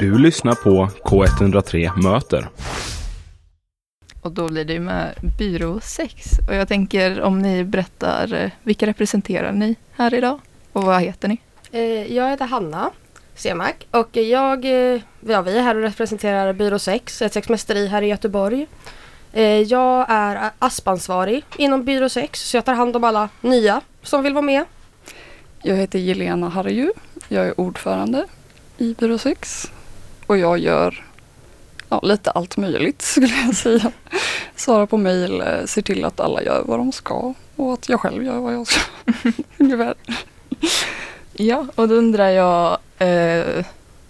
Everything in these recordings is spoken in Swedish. Du lyssnar på K103 Möter. Och då blir det ju med byrå 6. Och jag tänker om ni berättar, eh, vilka representerar ni här idag? Och vad heter ni? Eh, Jag heter Hanna Semak och jag, eh, ja, vi är här och representerar Byrå 6, ett sexmästeri här i Göteborg. Eh, Jag är a- aspansvarig inom Byrå 6 så jag tar hand om alla nya som vill vara med. Jag heter Jelena Harju. Jag är ordförande i Byrå 6 och jag gör ja, lite allt möjligt skulle jag säga. Svarar på mejl, eh, ser till att alla gör vad de ska och att jag själv gör vad jag ska. Ungefär. Ja, och då undrar jag, eh,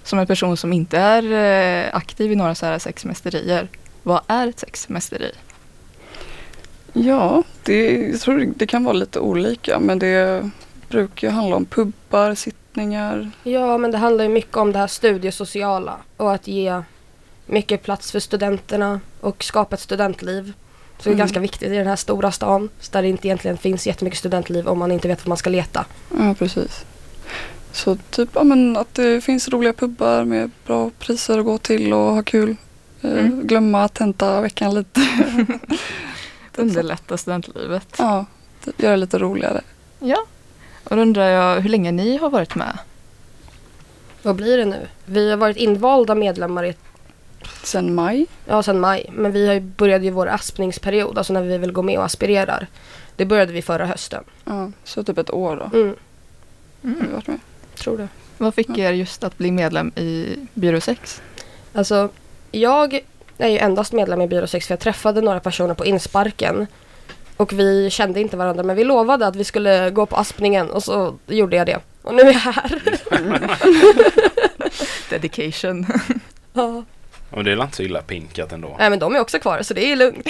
som en person som inte är eh, aktiv i några så här sexmästerier, vad är ett sexmästeri? Ja, det, jag tror det kan vara lite olika men det brukar ju handla om pubbar, sittningar. Ja men det handlar ju mycket om det här studiesociala och att ge mycket plats för studenterna och skapa ett studentliv. Så det är Mm. ganska viktigt i den här stora stan där det inte egentligen finns jättemycket studentliv om man inte vet var man ska leta. Ja, precis. Så typ ja, men att det finns roliga pubbar med bra priser att gå till och ha kul. Eh, Mm. Glömma tentaveckan lite. Underlätta studentlivet. Ja, typ göra det lite roligare. Ja, och då undrar jag hur länge ni har varit med? Vad blir det nu? Vi har varit invalda medlemmar i ett Sen maj. Ja, sen maj. Men vi har ju, började ju vår aspningsperiod, alltså när vi vill gå med och aspirerar. Det började vi förra hösten. Ja, så typ ett år då. Mm, Mm. har vi varit med. tror det. Vad fick er just att bli medlem i Byrå 6? Alltså, jag är ju endast medlem i Byrå 6 för jag träffade några personer på insparken. Och vi kände inte varandra men vi lovade att vi skulle gå på aspningen och så gjorde jag det. Och nu är jag här. Dedication. Ja. Ja, men det är inte så illa pinkat ändå. Nej men de är också kvar så det är lugnt.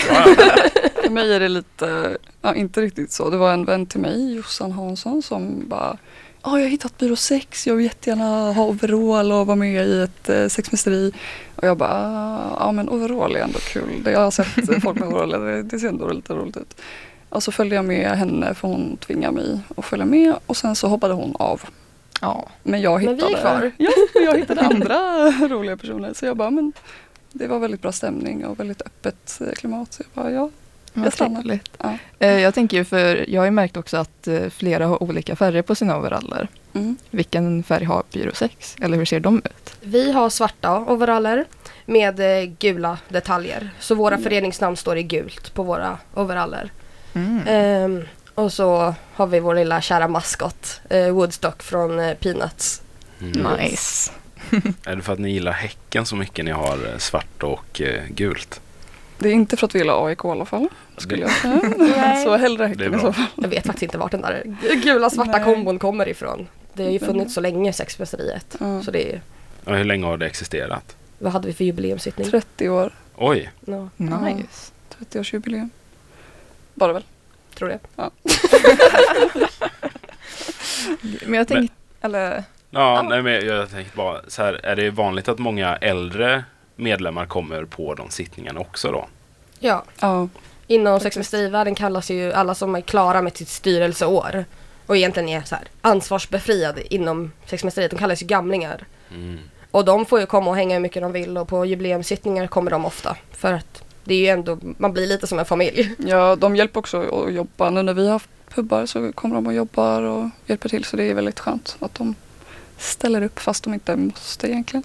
För mig är det lite, ja, inte riktigt så. Det var en vän till mig, Jossan Hansson, som bara Ja, jag har hittat Byrå 6, jag vill jättegärna ha overall och vara med i ett eh, sexmästeri. Och jag bara, "Ah, ja men overall är ändå kul. Det, jag har sett eh, folk med overaller, det- det ser ändå lite roligt ut. Och så följde jag med henne för hon tvingade mig att följa med och sen så hoppade hon av. Ja, Men jag Men hittade, vi är kvar. Ja, och jag hittade andra roliga personer. Så jag bara, men det var väldigt bra stämning och väldigt öppet eh, klimat. Så jag bara, ja. vad Jag stannar. trevligt. ja. Eh, Jag tänker ju för jag har ju märkt också att eh, flera har olika färger på sina overaller. Mm. Vilken färg har Byrå 6? Eller hur ser de ut? Vi har svarta overaller med eh, gula detaljer. Så våra föreningsnamn står i gult på våra overaller. Ehm, och så har vi vår lilla kära maskot eh, Woodstock från eh, Peanuts. Mm. Nice. Är det för att ni gillar Häcken så mycket ni har eh, svart och eh, gult? Det är inte för att vi gillar AIK i alla fall. Skulle jag säga. Nej. så hellre Det är Häcken i bra. så fall. Jag vet faktiskt inte vart den där gu- gula svarta Nej. kombon kommer ifrån. Det har ju funnits så länge sexmästeriet. Ja. Så det är, Ja, hur länge har det existerat? vad hade vi för jubileumssittning? 30 år, Oj, Ja, Nice. 30-årsjubileum. Bara väl? tror det. Men jag tänkte, eller ja, Nej, men jag tänkte bara så här, är det vanligt att många äldre medlemmar kommer på de sittningarna också då? Ja, Ja. inom sexmästerivärlden kallas ju alla som är klara med sitt styrelseår och egentligen är så här ansvarsbefriade inom sexmästeriet. De kallas ju gamlingar. Mm. Och de får ju komma och hänga hur mycket de vill och på jubileumssittningar kommer de ofta. För att det är ju ändå, man blir lite som en familj. ja, de hjälper också att jobba. Nu när vi har haft pubbar så kommer de och jobbar och hjälper till. Så det är väldigt skönt att de ställer upp fast de inte måste egentligen.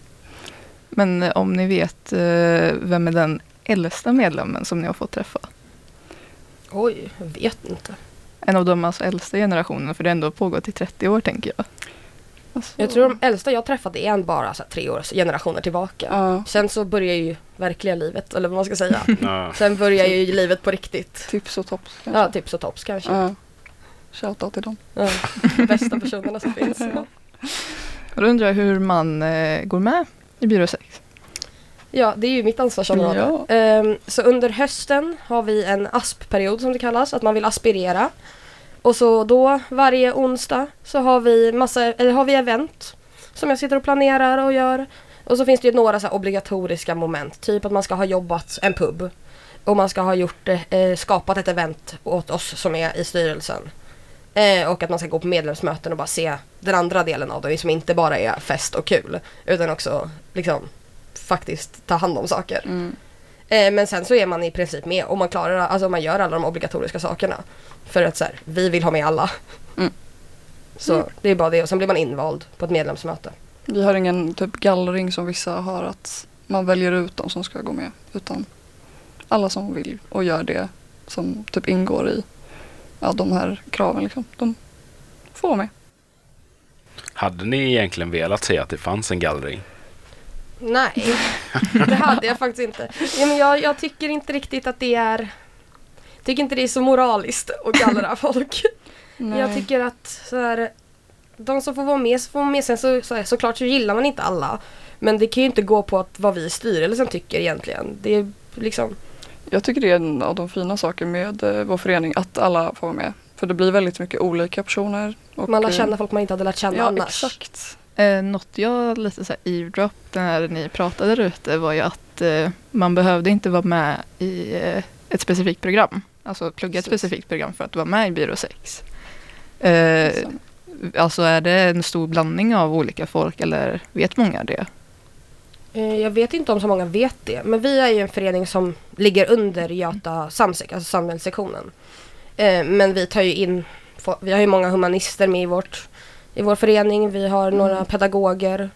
men eh, om ni vet, eh, vem är den äldsta medlemmen som ni har fått träffa? Oj, jag vet inte. En av de alltså äldsta generationen, för det har ändå pågått i 30 år tänker jag. Alltså, Jag tror de äldsta jag träffade är en bara så här, tre år, generationer tillbaka. Ja, Sen så börjar ju verkliga livet, eller vad man ska säga. Ja. Sen börjar ju livet på riktigt. tips och tops kanske. Ja, tips och tops kanske. Ja. Shoutout till dem. Ja. Bästa personerna som finns. Och då undrar jag hur man eh, går med i Byrå 6? Ja, det är ju mitt ansvarsområde. Ja. Ehm, så under hösten har vi en aspperiod som det kallas, att man vill aspirera. Och så då varje onsdag så har vi massa, eller har vi event som jag sitter och planerar och gör. Och så finns det ju några så här obligatoriska moment, typ att man ska ha jobbat en pub. Och man ska ha gjort, eh, eh, skapat ett event åt oss som är i styrelsen. Eh, och att man ska gå på medlemsmöten och bara se den andra delen av det som inte bara är fest och kul. Utan också liksom faktiskt ta hand om saker. Mm. Eh, men sen så är man i princip med om man klarar, alltså om man gör alla de obligatoriska sakerna. För att så här, vi vill ha med alla. Mm. Så det är bara det och sen blir man invald på ett medlemsmöte. Vi har ingen typ gallring som vissa har att man väljer ut de som ska gå med. Utan alla som vill och gör det som typ ingår i ja, de här kraven. Liksom. De får vara med. Hade ni egentligen velat se att det fanns en gallring? Nej, det hade jag faktiskt inte. Ja, men jag, jag tycker inte riktigt att det är Tycker inte det är så moraliskt att gallra folk. Jag tycker att så här, de som får vara med så får vara med. Sen så, så här, såklart så gillar man inte alla. Men det kan ju inte gå på att vad vi i styrelsen tycker egentligen. Det är liksom Jag tycker det är en av de fina sakerna med eh, vår förening, att alla får vara med. För det blir väldigt mycket olika personer. och, Man lär eh, känna folk man inte hade lärt känna ja, annars. exakt. Eh, något jag lite så här eavdrop när ni pratade där ute var ju att eh, man behövde inte vara med i eh, ett specifikt program. Alltså plugga ett Precis. specifikt program för att vara med i Byrå 6. Liksom. Eh, alltså är det en stor blandning av olika folk eller vet många det? Eh, Jag vet inte om så många vet det, men vi är ju en förening som ligger under Göta samsek, alltså samhällssektionen. Eh, Men vi tar ju in, fo- vi har ju många humanister med i, vårt, i vår förening, vi har några pedagoger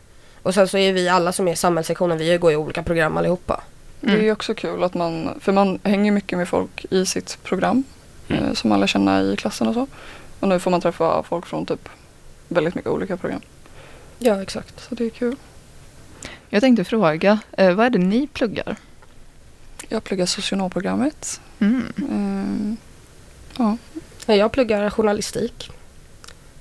och sen så är vi alla som är i samhällssektionen, vi går ju olika program allihopa. Det Mm. är ju också kul att man, för man hänger mycket med folk i sitt program Mm. eh, som man lär känna i klassen och så. Och nu får man träffa folk från typ väldigt mycket olika program. Ja, exakt. Så det är kul. Jag tänkte fråga, eh, vad är det ni pluggar? Jag pluggar socionomprogrammet. Mm. Eh, Jag pluggar journalistik.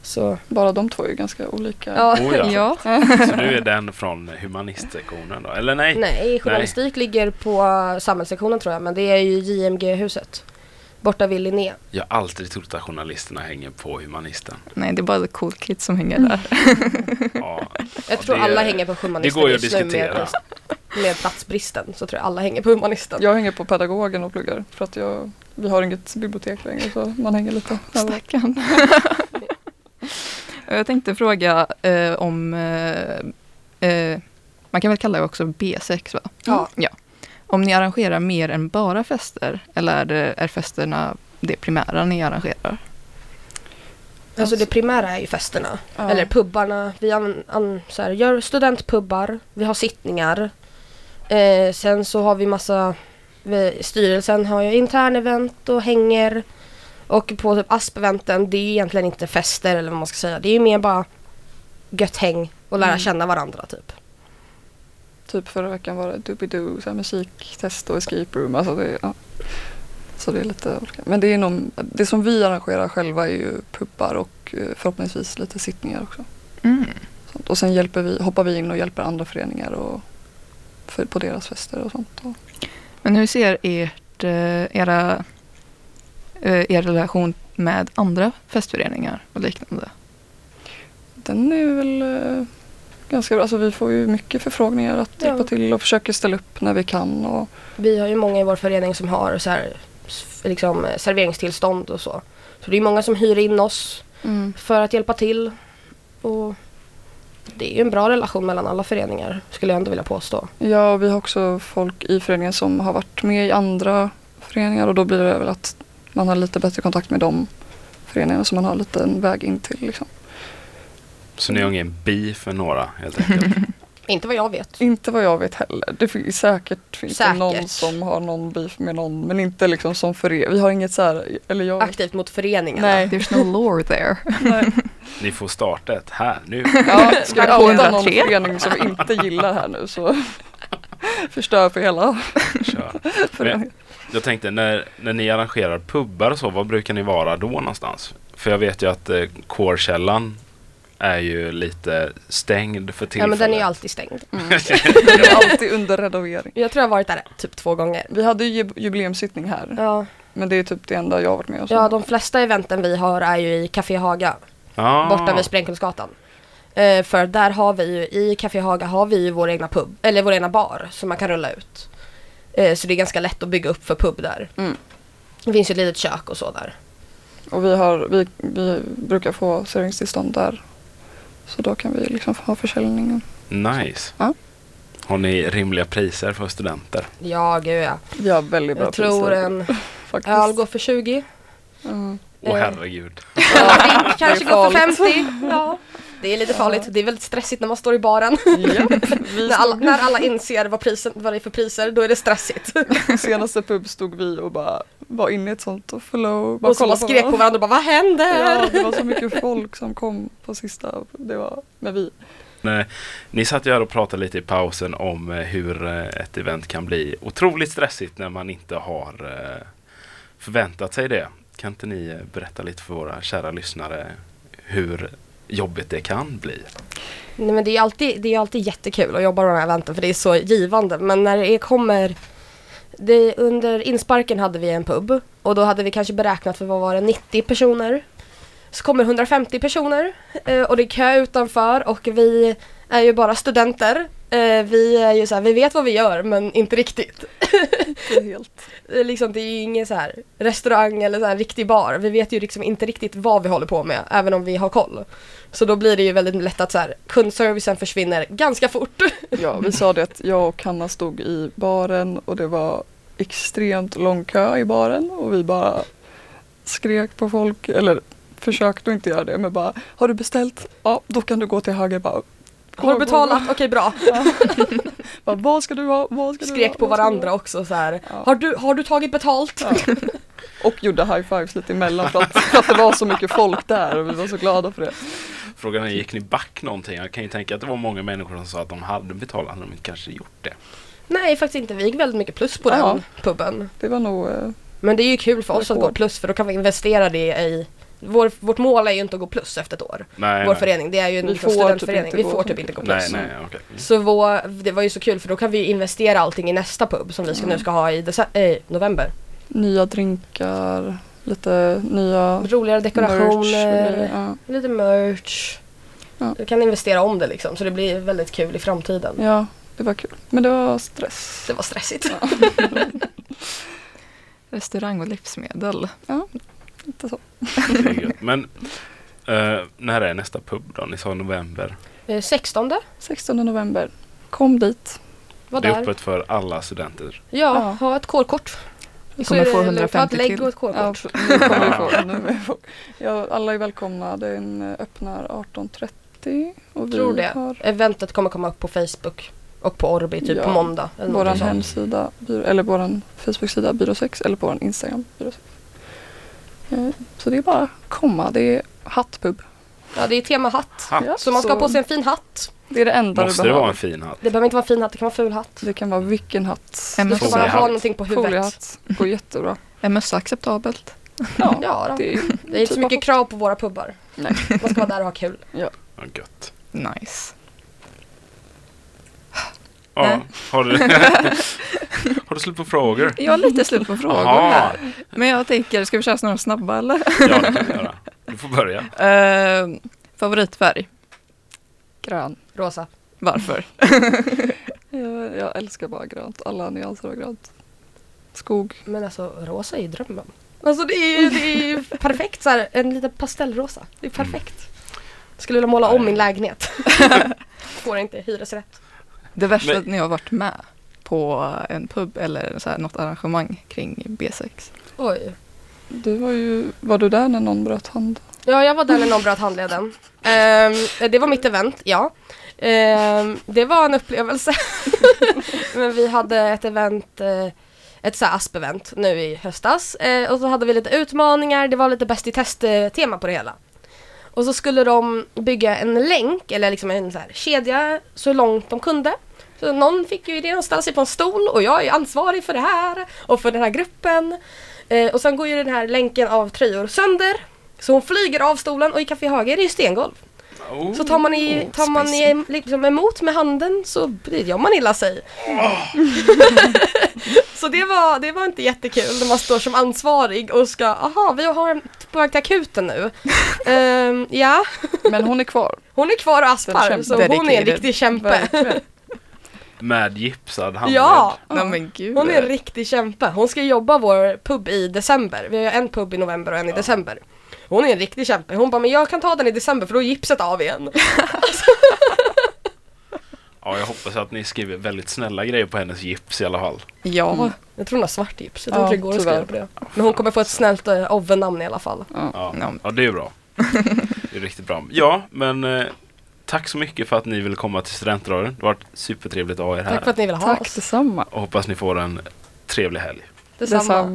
Så, bara de två är ju ganska olika. ja. Oh, ja. Ja. Så du är den från humanistsektionen då? Eller nej? Nej, journalistik ligger på samhällssektionen tror jag, men det är ju JMG-huset. Borta vid Linné. Jag har alltid trott att journalisterna hänger på humanisten. Nej, det är bara the cool kids som hänger där. Ja, Jag tror det- alla hänger på humanister det går ju att just nu med, diskutera. med platsbristen så tror jag alla hänger på humanisten. Jag hänger på pedagogen och pluggar för att jag, vi har inget bibliotek längre så man hänger lite. Stackarn. jag tänkte fråga eh, om, eh, eh, man kan väl kalla det också B6 va? Ja. Om ni arrangerar mer än bara fester eller är, det, är festerna det primära ni arrangerar? Alltså det primära är ju festerna. Ja. Eller pubbarna. Vi an, an, så här, gör studentpubbar, vi har sittningar. Eh, sen så har vi massa, vi, styrelsen har ju internevent och hänger. Och på typ aspeventen, det är ju egentligen inte fester eller vad man ska säga. Det är ju mer bara gött häng och lära Mm. känna varandra typ. Typ förra veckan var det Doobidoo, så här musiktest och escape room. Alltså det, ja. Så det är lite olika. Men det, är nog- det som vi arrangerar själva är ju pubbar och eh, förhoppningsvis lite sittningar också. Sånt. Och sen hjälper vi, hoppar vi in och hjälper andra föreningar och för, på deras fester och sånt. Och, Men hur ser ert, eh, era, eh, er relation med andra festföreningar och liknande? den är väl eh, ganska bra. Alltså vi får ju mycket förfrågningar att Ja. hjälpa till och försöker ställa upp när vi kan. Och, Vi har ju många i vår förening som har så här, s- liksom, eh, serveringstillstånd och så. Så det är många som hyr in oss för att hjälpa till. Och det är ju en bra relation mellan alla föreningar skulle jag ändå vilja påstå. Ja, och vi har också folk i föreningen som har varit med i andra föreningar och då blir det väl att man har lite bättre kontakt med de föreningarna som man har lite en väg in till. Liksom. Så ni har ingen bi för några helt enkelt? Inte vad jag vet. Inte vad jag vet heller. Det finns säkert, finns det Säkert. någon som har någon beef med någon men inte liksom som förening. Vi har inget så här, eller jag Aktivt mot föreningarna. Nej. There's no lore there. Nej. Ni får starta ett här nu. Ja, ska vi Tack, outa någon 103. förening som vi inte gillar här nu så förstör för hela Kör. Men föreningen. jag tänkte, när, när ni arrangerar pubbar och så, var brukar ni vara då någonstans? För jag vet ju att eh, kårkällan är ju lite stängd för Ja, tillfället. men den är ju alltid stängd. Det är alltid under renovering. Jag tror jag har varit där typ två gånger. Vi hade ju jub- jubileumssittning här Ja, men det är typ det enda jag har varit med om. ja de flesta eventen vi har är ju i Café Haga. ah, borta vid Sprängkullsgatan. Eh, för där har vi ju, i Café Haga har vi ju vår egna pub, eller vår egna bar som man kan rulla ut. Eh, så det är ganska lätt att bygga upp för pub där. Mm. Det finns ju ett litet kök och så där. Och vi, har, vi, vi brukar få serveringstillstånd där. Så då kan vi liksom ha försäljningen. Nice. Ja. Har ni rimliga priser för studenter? Ja, gud ja. Vi har väldigt bra Jag tror priser en faktiskt. öl går för 20. Mm. Åh Eh. herregud. Ja, drink kanske det är går för farligt. 50. Ja. Det är lite farligt. Det är väldigt stressigt när man står i baren. Japp, vi När alla, när alla inser vad, prisen, vad det är för priser, då är det stressigt. stod- senaste pub stod vi och bara var inne i ett sånt och flow. och så bara skrek på varandra och bara vad händer? Ja, det var så mycket folk som kom på sista, det var, men vi. Eh, Ni satt ju här och pratade lite i pausen om eh, hur eh, ett event kan bli otroligt stressigt när man inte har eh, förväntat sig det. Kan inte ni eh, berätta lite för våra kära lyssnare hur jobbigt det kan bli? Nej men det är ju alltid, det är ju alltid jättekul att jobba med de här eventen för det är så givande. Men när det kommer... Det, under insparken hade vi en pub och då hade vi kanske beräknat för vad var det, 90 personer. Så kommer 150 personer eh, och det är kö utanför och vi är ju bara studenter. Eh, Vi är ju så här, vi vet vad vi gör men inte riktigt. Det är helt, Eh, Liksom, det är ju ingen så här restaurang eller så här riktig bar. Vi vet ju liksom inte riktigt vad vi håller på med även om vi har koll. Så då blir det ju väldigt lätt att så här, kundservicen försvinner ganska fort. ja vi sa det att jag och Hanna stod i baren och det var extremt lång kö i baren och vi bara skrek på folk, eller försökte att inte göra det men bara har du beställt? Ja, då kan du gå till höger bara. Har du betalat? Okej bra. Bara, vad ska du ha? Vad ska du ha? Skrek på Vad ska du ha?" varandra också så här. Ja. Har du, har du tagit betalt? Ja. Och gjorde high-fives lite emellan för att, för att det var så mycket folk där och vi var så glada för det. Frågan är, gick ni back någonting? Jag kan ju tänka att det var många människor som sa att de hade betalat, hade de inte kanske gjort det. Nej faktiskt inte. Vi gick väldigt mycket plus på Ja. den puben. Det var nog eh, Men det är ju kul för oss att gå Rekord. plus för då kan vi investera det i vår, vårt mål är ju inte att gå plus efter ett år. Nej, Vår nej. förening, det är ju en Vi liksom får typ studentförening. inte vi gå får så typ mycket. inte gå plus. Nej, nej, okej. Så vår, det var ju så kul för då kan vi ju investera allting i nästa pub som vi ska, nu ska ha i dece- eh, november. nya drinkar, lite nya Roligare merch och dekorationer, grejer. Ja. lite merch. Ja. Du kan investera om det liksom så det blir väldigt kul i framtiden. ja, det var kul. Men det var stress. Det var stressigt. Restaurang och livsmedel. Lite så. Det är gött. Men eh, när är nästa pub då? Ni sa november. Eh, 16 16 november. Kom dit. var det är där. öppet för alla studenter. Ja, Ja. ha ett kårkort. Vi Så är kommer få det lugnt. Ha ett 150 lägg och till. ett kårkort. Ja, för- nu kommer vi få, nu är vi få. Ja, alla är välkomna. Den eh, öppnar 18.30 och vi Tror det. har Eventet kommer komma upp på Facebook och på Orbi typ Ja. på måndag. Eller vår någonting sånt. hemsida, byrå, eller vår Facebook-sida Byrå 6 eller på vår Instagram Byrå 6. Eh, Så det är bara att komma. Det är hattpub. Ja, det är tema hatt. Ha, Ja, Så man ska ha på sig en fin hatt. Det är det enda måste det du behöver. vara en fin hatt? Det behöver inte vara en fin hatt, det kan vara en ful hatt. Det kan vara vilken hatt. En Du ska bara Foliehatt. ha någonting på huvudet. Foliehatt går jättebra. Är mössa acceptabelt? Ja, Ja, då. det är Det är inte så Typ av mycket krav på våra pubbar. Nej. Man ska vara där och ha kul. Ja, gött. Nice. Ja, har, du, har du slut på frågor? Jag är lite slut på frågor Jaha, här. Men jag tänker, ska vi köra några snabba eller? ja det kan vi göra. Du får börja. Eh, favoritfärg? grön. Rosa. Varför? Jag, jag älskar bara grönt. Alla nyanser av grönt. Skog. Men alltså rosa är ju drömmen. Alltså det är ju, det är ju Mm. perfekt så här, en liten pastellrosa. Det är perfekt. Skulle vilja måla om min lägenhet. Får inte hyresrätt. Det värsta Men- när jag har varit med på en pub eller så här, något arrangemang kring B6. Oj. Du var ju, var du där när någon bröt hand? Ja, jag var där när någon bröt handleden. Ehm, det var mitt event, ja. Ehm, det var en upplevelse. Men vi hade ett event, eh, ett så här ASP-event nu i höstas. Eh, och så hade vi lite utmaningar, det var lite bäst i test-tema på det hela. Och så skulle de bygga en länk, eller liksom en så här kedja, så långt de kunde. Så någon fick ju idén att ställa sig på en stol och jag är ansvarig för det här och för den här gruppen. Eh, och sen går ju den här länken av tröjor sönder. Så hon flyger av stolen och i Café Haga är det ju stengolv. Oh, Så tar man, i, tar man i, liksom emot med handen så gör man illa sig. så det var, det var inte jättekul när man står som ansvarig och ska, aha vi har en på väg till akuten nu. Ehm, ja, Men hon är kvar. hon är kvar och aspar Den så kämpar. hon är en Dedicated. riktig kämpe. Verkligen. Med gipsad handled. Ja! Nej men gud. Hon är en riktig kämpe. Hon ska jobba vår pub i december. Vi har ju en pub i november och en i december. Hon är en riktig kämpe. Hon bara, men jag kan ta den i december för då är gipset av igen. Ja, jag hoppas att ni skriver väldigt snälla grejer på hennes gips i alla fall. Ja. Mm. Jag tror hon har svart gips. Jag Ja, tror inte det går att tyvärr. skriva på det. Men hon kommer få ett snällt eh, ovennamn i alla fall. Ja, Ja. ja det är bra. Det är riktigt bra. Ja, men eh, tack så mycket för att ni ville komma till Studentradion. Det har varit supertrevligt att ha er här. Tack för att ni vill ha Tack oss. detsamma. Och hoppas ni får en trevlig helg. Detsamma.